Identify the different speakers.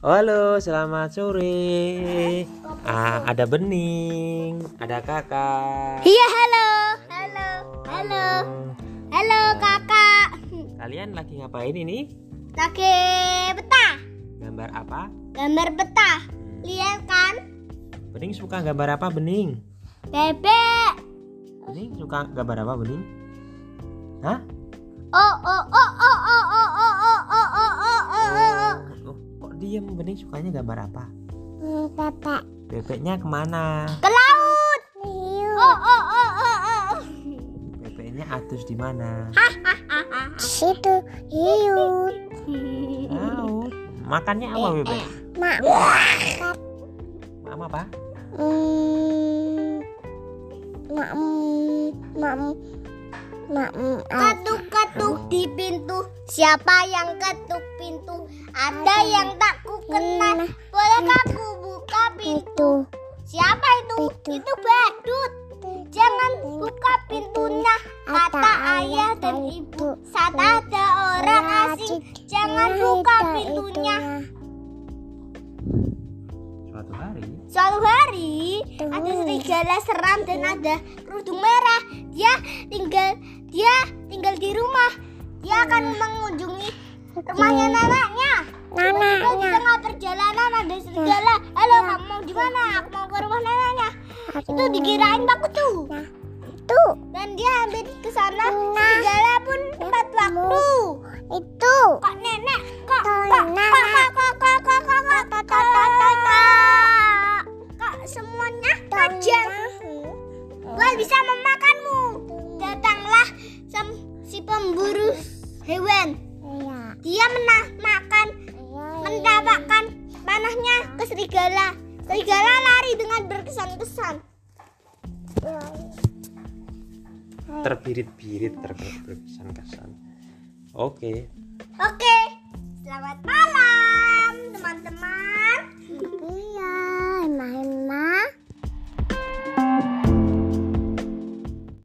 Speaker 1: Halo, selamat sore. Ah, ada Bening, ada Kakak. Oh,
Speaker 2: Iya, halo. Halo. Halo. Halo, Kakak.
Speaker 1: Kalian lagi ngapain ini?
Speaker 2: Lagi betah.
Speaker 1: Gambar apa?
Speaker 2: Gambar betah. Lihat kan?
Speaker 1: Bening suka gambar apa, Bening?
Speaker 2: Bebek.
Speaker 1: Bening suka gambar apa, Bening? Hah?
Speaker 2: Oh, oh, oh, oh, oh, oh, oh, oh, oh, oh, oh, oh, oh, oh.
Speaker 1: Oh, kok diem? Bening sukanya gambar apa?
Speaker 2: Kakak.
Speaker 1: Bebeknya kemana?
Speaker 2: Ke laut. Oh, oh, oh, oh, oh, oh.
Speaker 1: Bebeknya atus di mana?
Speaker 2: Situ hiu.
Speaker 1: Laut. Makannya apa bebek?
Speaker 2: Eh, Mak.
Speaker 1: Mama apa?
Speaker 2: Hmm. Mak. Mak. Mak. Ketuk-ketuk di pintu. Siapa yang ketuk pintu? Ada yang tak ku kenal. Bolehkah ku buka pintu? Siapa itu? Itu badut. Jangan buka pintunya, kata ayah dan ibu. Saat ada orang asing, jangan buka pintunya.
Speaker 1: Suatu hari,
Speaker 2: Suatu hari ada serigala seram dan ada kerudung merah. Dia tinggal dia tinggal di rumah. Dia akan mengunjungi rumahnya neneknya. Tiba-tiba Di tengah perjalanan ada serigala. Halo, kamu mau di mana? Aku mau ke rumah neneknya. Itu dikirain takut tuh. Nah, Itu. Nah. Dan dia hampir ke sana. Serigala pun tepat waktu. Itu. Kok nenek? Kok kok kok kok kok kok kok kok kok kok kok kok kok kok kok semuanya tajam. Gua bisa memakanmu. Datanglah sem- si pemburu hewan. Dia menamakan iya. mendapatkan panahnya ke serigala. Serigala lari dengan berkesan-kesan.
Speaker 1: terbirit-birit, terbirit-kesan-kesan. Oke.
Speaker 2: Oke, selamat malam.